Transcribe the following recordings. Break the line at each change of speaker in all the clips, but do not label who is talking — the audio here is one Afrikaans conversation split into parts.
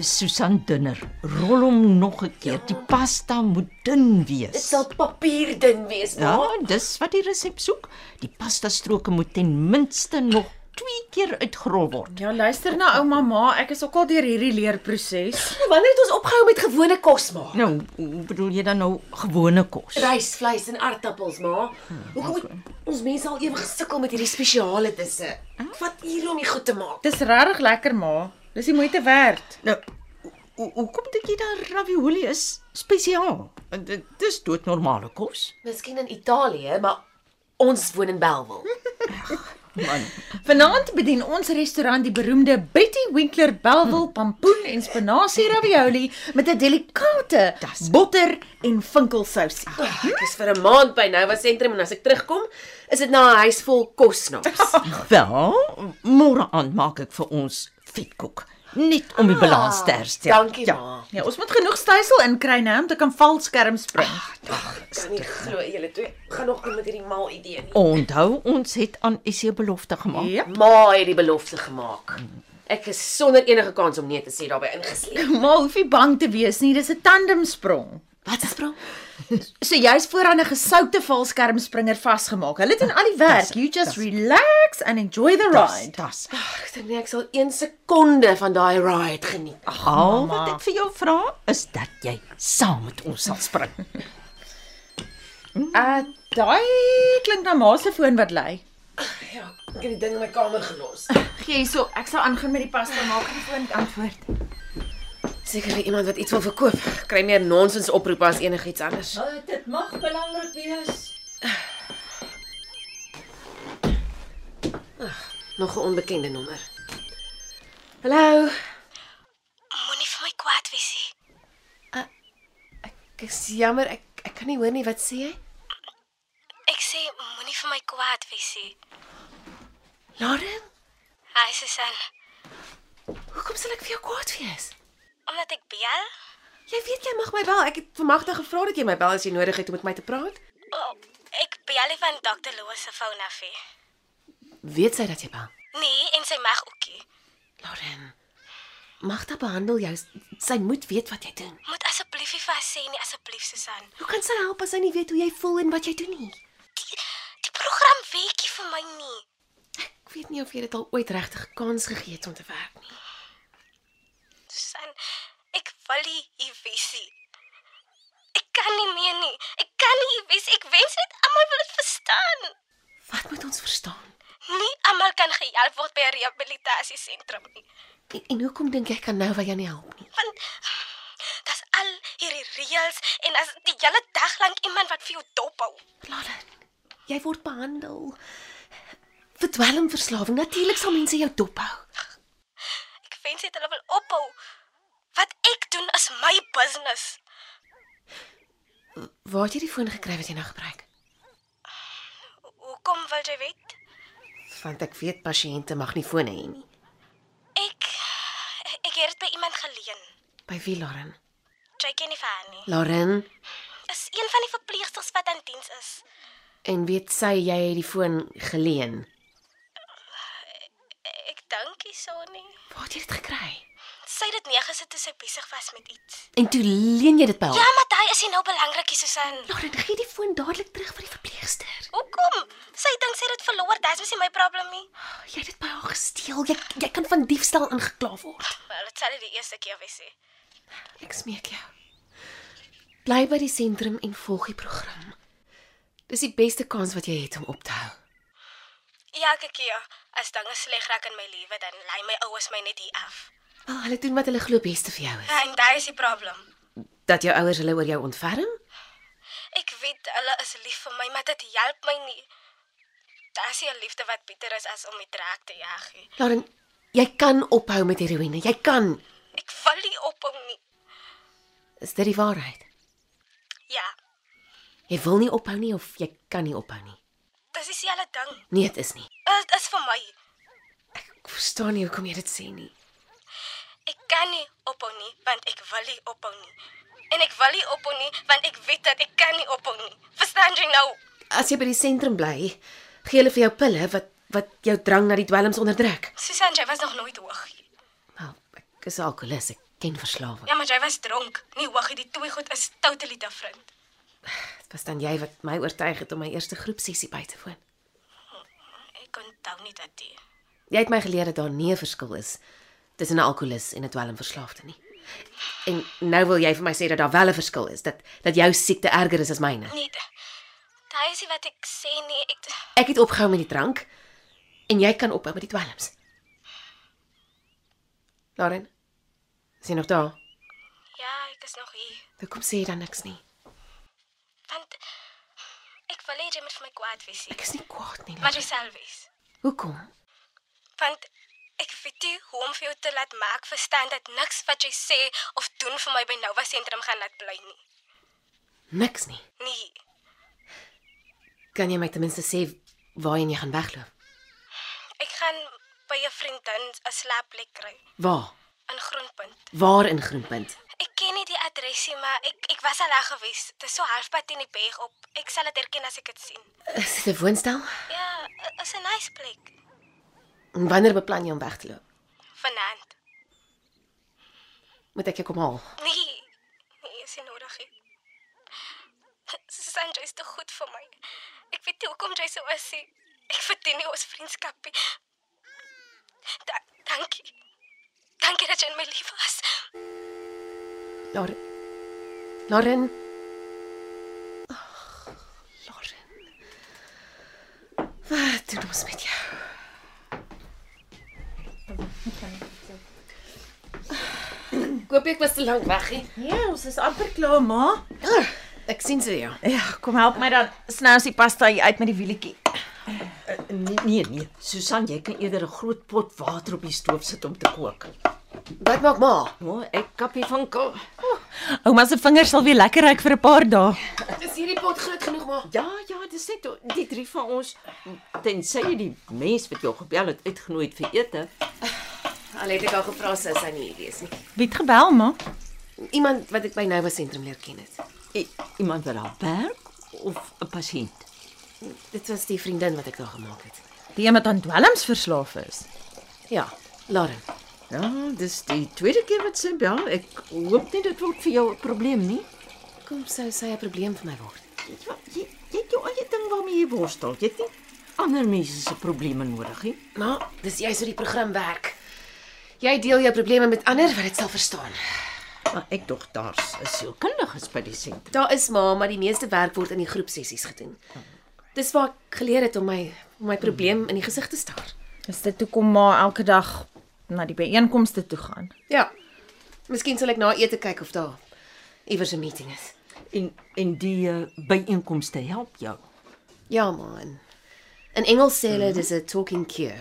Susan dunner. Rol hom nog 'n keer. Die pasta moet dun wees.
Dit sal papier dun wees,
Ja,
maar
dis wat die resep soek. Die pasta stroke moet ten minste nog 2 keer uitgerol word.
Ja, luister na ouma ma, ek is ook al deur hierdie leerproses.
ja. wanneer het ons opgehou met gewone kos maak?
Nou, hoe bedoel jy dan nou gewone kos?
Rys, vleis en aardappels, ma.
Hm,
Hoekom het ons mense al ewig gesukkel met hierdie spesiale disse?
Hm?
Wat hier om dit goed te maak.
Dis regtig lekker ma. Dis die moeite werd.
Nou, ho- hoekom dink jy dat ravioli is spesiaal? Want Dit dis doodnormale kos.
Miskien in Italië, maar ons woon in Bellville.
Man,
Vanaand bedien ons restaurant die beroemde Betty Winkler Belwel pampoen en spinasie ravioli met 'n delikate
Das-
botter en vinkelsousie.
Ag, Ek is vir 'n maand by Nova Sentrum en as ek terugkom, is dit na 'n huis vol kosnaps.
wel, môre aand maak ek vir ons vetkoek, net om die balans te herstel.
Dankie, ma.
Ja, ons moet genoeg styfsel inkry nou om te kan valskerm spring.
Ek kan nie glo julle twee gaan nog kom met hierdie mal idee nie.
Onthou ons het aan Essie belofte gemaak.
Ja.
Ma het die belofte gemaak.
Hm.
Ek is sonder enige kans om nee te sê daarbey ingesleep.
Maar hoef nie bang te wees nie, dis 'n tandemsprong.
Wat is bro?
So jy's vooraan 'n gesoute valskermspringer vasgemaak. Hulle doen al die werk. You just relax and enjoy the
Dis
ride.
dis.
Ek dink nie ek sal 1 sekonde van daai ride geniet. Ag,
Al wat ek vir jou vra is dat jy saam met ons sal spring.
Uh, daai klink na ma se foon wat lui.
ja, ek het die ding in my kamer gelos.
Gee hierso, ek sal aangaan met die pasta maak en die foon antwoord.
Seker vir iemand wat iets wil verkoop, kry meer nonsens oproepe as enigiets anders.
Nou, Dit mag belangrik wees.
Nog 'n onbekende nommer. Hallo,
Moenie vir my kwaad wees nie.
ek is jammer, ek ek kan nie hoor nie wat sê jy?
Ek sê moenie vir my kwaad wees nie.
Lauren,
Hi Susan.
hoekom sal ek vir jou kwaad wees?
Omdat ek bel?
Jy weet jy mag my bel. Ek het vanmagtig gevra dat jy my bel as jy nodig het om met my te praat.
Oh, ek bel nie van Dr. Loos se foon af nie.
Weet sy dat jy bel?
Nee, en sy mag ookie.
Lauren, Magda behandel jou. Sy moet weet wat jy doen.
Moet asseblief nie vir haar sê nie, asseblief Susan.
Hoe kan sy help as sy nie weet hoe jy voel en wat jy doen nie?
Die, die program weekie vir my nie.
Ek weet nie of jy dit al ooit regtig kans gegee het om te werk nie.
Susan, ek wil nie hier wees nie. Ek kan nie meer nie. Ek kan nie hier wees. Ek wens net almal wil dit verstaan.
Wat moet ons verstaan?
Nie almal kan gehelp word by 'n rehabilitasiesentrum nie.
En, en hoekom dink jy kan nou wat jy nie help nie?
Want dis al hierdie reëls en as die hele dag lank iemand wat vir jou dop hou.
Lauren, jy word behandel vir dwelmverslawing. Natuurlik sal mense jou dophou.
Ek wens dit hulle wil ophou. Wat ek doen is my business.
Waar het jy die foon gekry wat jy nou gebruik?
Ho- Hoekom wil jy weet?
Want ek weet pasiënte mag nie fone hê nie.
Ek ek het dit by iemand geleen.
By wie, Lauren?
Jy ken nie vir haar nie.
Lauren,
Is een van die verpleegsters wat aan diens is.
en weet sy jy het die foon geleen?
Ek dink nie so nie.
Waar het jy dit gekry?
Sy het dit neergesit toe sy besig was met iets.
En toe leen jy dit by
Ja,
haar.
maar daai is nie nou belangrik, hier, Susan.
Ja, Lauren, gee die foon dadelik terug vir die verpleegster.
Hoekom? Sy dink sy het dit verloor, dis mos nie my probleem nie.
Oh, Jy het dit by haar gesteel. Jy jy kan van diefstal aangekla word.
Maar dit sal nie die eerste keer wees nie.
Ek smeek jou. Bly by die sentrum en volg die program. Dis die beste kans wat jy het om op te hou.
Ja, ek ek ja. As dinge sleg raak in my lewe, dan lei my ouers my net hier af.
Wel, hulle doen wat hulle glo beste vir jou is.
En daai is die probleem.
Dat jou ouers hulle oor jou ontferm?
Ek weet hulle is lief vir my, maar dit help my nie. Daar's nie 'n liefde wat beter is as om die draak te jag nie.
Lauren, jy kan ophou met heroïne. Jy kan.
Ek wil nie ophou nie.
Is dit die waarheid?
Ja,
Jy wil nie ophou nie of jy kan nie ophou nie.
dis dieselfde ding.
Nee, dit is nie.
Dit is vir my.
Ek verstaan nie hoekom jy dit sê nie.
Ek kan nie ophou nie want ek wil nie ophou nie. En ek wil nie ophou nie want ek weet dat ek kan nie ophou nie. Verstaan jy nou?
As jy by die sentrum bly, gee hulle vir jou pille wat wat jou drang na die dwelms onderdruk.
Susan, jy was nog nooit hoog. nie.
Wel, ek is 'n alkolikus, ek ken verslawing.
Ja, maar jy was dronk. Nie hoog nie. Die twee goed is totally different.
Dit was dan jy wat my oortuig het om my eerste groepsessie by te woon.
Ek onthou nie dat dit.
Jy het my geleer dat daar nie 'n verskil is tussen 'n alkolikus en 'n dwelmverslaafde nie. En nou wil jy vir my sê dat daar wel 'n verskil is, dat dat jou siekte erger is as myne.
Nee. d- Daai is nie wat ek sê nie. Ek
Ek het opgehou met die drank en jy kan ophou met die dwelms. Lauren, is jy nog daar?
ja, ek is nog hier.
Hoekom sê jy dan niks nie?
Want ek wil hê jy moet vir my kwaad wees. nie.
Ek is nie kwaad nie.
Maar
Lauren.
jy self wees.
Hoekom?
Want ek weet nie hoe om vir jou te laat maak verstaan dat niks wat jy sê of doen vir my by Nova sentrum gaan laat bly nie.
Niks nie.
Nee.
Kan jy my ten minste sê waarheen jy gaan wegloop?
Ek gaan by 'n vriendin 'n slaapplek kry
Waar?
in Groenpunt.
Waar in Groenpunt?
Ek ken nie die adresie, maar ek ek was al daar gewees. Dit is so halfpad teen die berg op. Ek sal dit herken as ek dit sien.
Is dit 'n woonstel?
Ja, i- is 'n nice plek.
En wanneer beplan jy om weg te loop?
Vanaand.
Moet ek jou kom haal?
Nee. Nee, is nie nodig nie. Sanjay is te goed vir my. Ek weet nie hoekom jy so is nie. Ek verdien nie ons vriendskap nie. Da dankie. Dankie dat jy in my lewe was.
Lauren. Lauren. Ag, Lauren. Wat doen ons met jou? Ek hoop ek was te lank weg nie.
Nee, ons is amper klaar, ma.
Ek sien se jou.
Ja, kom help my dan. Snous die pasta hier uit met die wielietjie.
Nee nee nee. Susan, jy kan eerder 'n groot pot water op die stoof sit om te kook.
Wat maak ma?
Nou, ek kappie van ko.
Ouma se vingers sal weer lekker ruik vir 'n paar dae.
Is hierdie pot groot genoeg ma?
Ja, ja, dis net die drie van ons tensy jy die mens wat jou gebel het uitgenooi het vir ete.
Al het ek al gevra sy is hy nie hier wees nie.
Wie het gebel, ma?
Iemand wat ek by Nouwe sentrum leer ken het.
I, iemand wat daar werk of 'n pasiënt.
Dit was die vriendin wat ek daar gemaak het.
Die een wat aan dwelms verslaaf is.
Ja, Lauren.
Ja, dis die tweede keer wat sy bel. Ek hoop nie dit word vir jou 'n probleem nie.
Kom sou sy 'n probleem vir my word.
Ja, jy jy het jou eie ding waarmee jy worstel. Jy het nie ander mense se probleme nodig nie.
Maar dis juist hoe die program werk. Jy deel jou probleme met ander wat dit sal verstaan.
Maar ek dog daar's 'n sielkundiges by die sentrum.
Daar is maar maar die meeste werk word in die groepsessies gedoen. Dis waar ek geleer het om my om my probleem in die gesig te staar.
Is dit hoekom ma elke dag na die byeenkomste toe gaan?
Ja. Miskien sal ek na ete kyk of daar iewers 'n meeting is.
En en die uh, byeenkomste help jou.
Ja man. In Engels sê hulle dis 'n talking cure.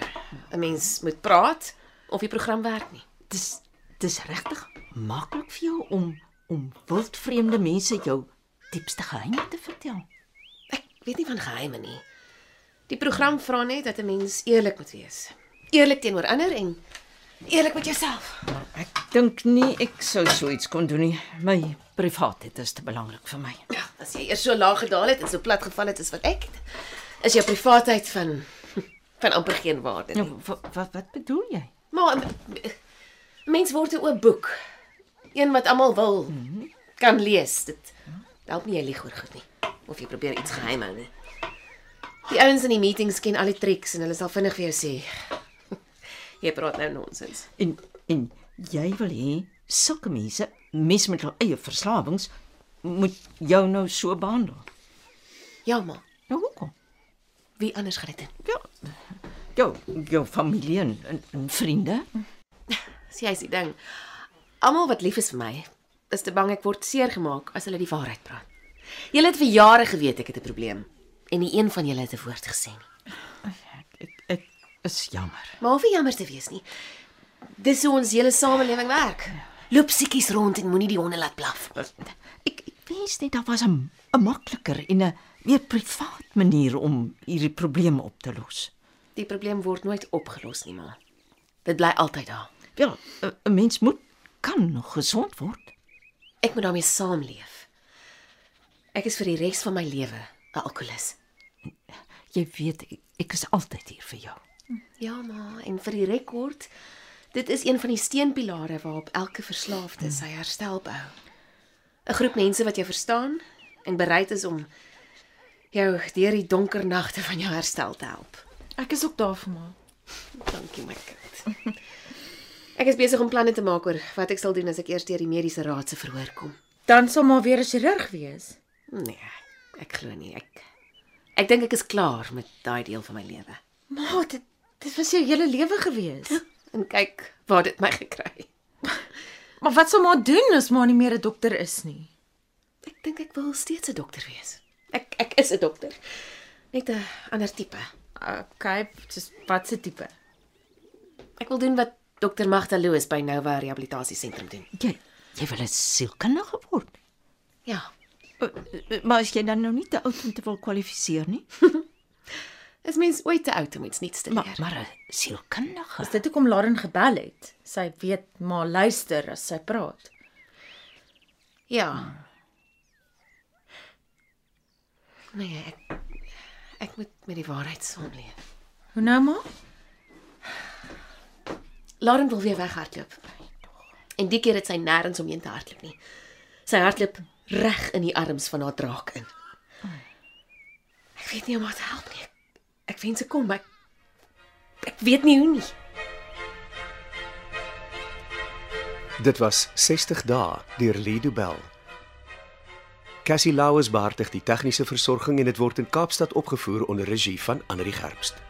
'n Mens moet praat of die program werk nie.
Dis dis regtig maklik vir jou om om wildvreemde mense jou diepste geheime te vertel.
Ek weet nie van geheime nie. Die program vra net dat 'n mens eerlik moet wees. Eerlik teenoor ander en eerlik met jouself.
Ek dink nie ek sou so iets kon doen nie. My privaatheid is te belangrik vir my.
Ja, as jy eers so laag gedaal het en so plat geval het as wat ek het, is jou privaatheid van van amper geen waarde nie.
Wat wat, Nou, wat bedoel jy?
Maar 'n mens word 'n oop boek. Een wat almal wil kan lees. Dit help nie jy lieg oor goed nie of jy probeer iets geheim hou nie. Die ouens in die meetings ken al die triks en hulle sal vinnig vir jou sê jy praat nou nonsens.
En en jy wil hê sulke mense, mense met hul eie verslawings, moet jou nou so behandel.
Ja, maar
Nou hoekom?
wie anders gaan dit doen?
Ja. Jou jou familie en, en, en vriende.
Dis jy's die ding. Almal wat lief is vir my, is te bang ek word seer gemaak as hulle die waarheid praat. Julle het vir jare geweet ek het 'n probleem en nie een van julle het 'n woord gesê nie.
Ek ek is jammer.
Maar hoef nie jammer te wees nie. Dis hoe ons hele samelewing werk. Loop siekies rond en moenie die honde laat blaf.
Ek ek wens net daar was 'n 'n makliker en 'n meer privaat manier om hierdie probleme op te los.
Die probleem word nooit opgelos nie, ma. Dit bly altyd daar.
Ja, 'n 'n mens moet kan gesond word.
Ek moet daarmee saamleef. Ek is vir die res van my lewe 'n alkolikus.
Jy weet, ek, ek is altyd hier vir jou.
Ja, ma, en vir die rekord, dit is een van die steunpilare waarop elke verslaafde sy herstel bou. 'n Groep mense wat jou verstaan en bereid is om jou deur die donker nagte van jou herstel te help.
Ek is ook daar vir my.
Dankie my kind. Ek is besig om planne te maak oor wat ek sal doen as ek eers deur die mediese raad se verhoor kom.
Dan sal maar weer 'n chirurg wees.
Nee, ek glo nie. Ek ek dink ek is klaar met daai deel van my lewe.
Maar dit dit was jou hele lewe gewees.
En kyk waar dit my gekry het.
Maar wat sal maar doen as maar nie meer 'n dokter is nie?
Ek dink ek wil steeds 'n dokter wees. Ek ek is 'n dokter. Net 'n ander tipe.
Okay, dis wat se tipe?
Ek wil doen wat dokter Magda Loos by Nova Rehabilitasie Sentrum doen.
Jy jy wil 'n sielkundige word.
Ja,
Eh, Maar as jy dan nou nie te oud om te wil kwalifiseer nie,
is mens ooit te oud om iets nuuts te
maar
leer?
maar 'n sielkundige.
Is dit hoekom Lauren gebel het? Sy weet maar luister as sy praat.
ja. Nee, ek ek moet met die waarheid saamleef.
Hoe nou maar?
Lauren wil weer weghardloop. En die keer het sy nêrens omheen te hardloop nie. Sy hardloop reg in die arms van haar draak in. Ek weet nie hoe om haar te help nie. Ek, ek wens ek kon, maar ek, ek weet nie hoe nie.
Dit was 60 dae deur Lido Bell. Cassie Lauers beheer die tegniese versorging en dit word in Kaapstad opgevoer onder regie van Anri Gerbst.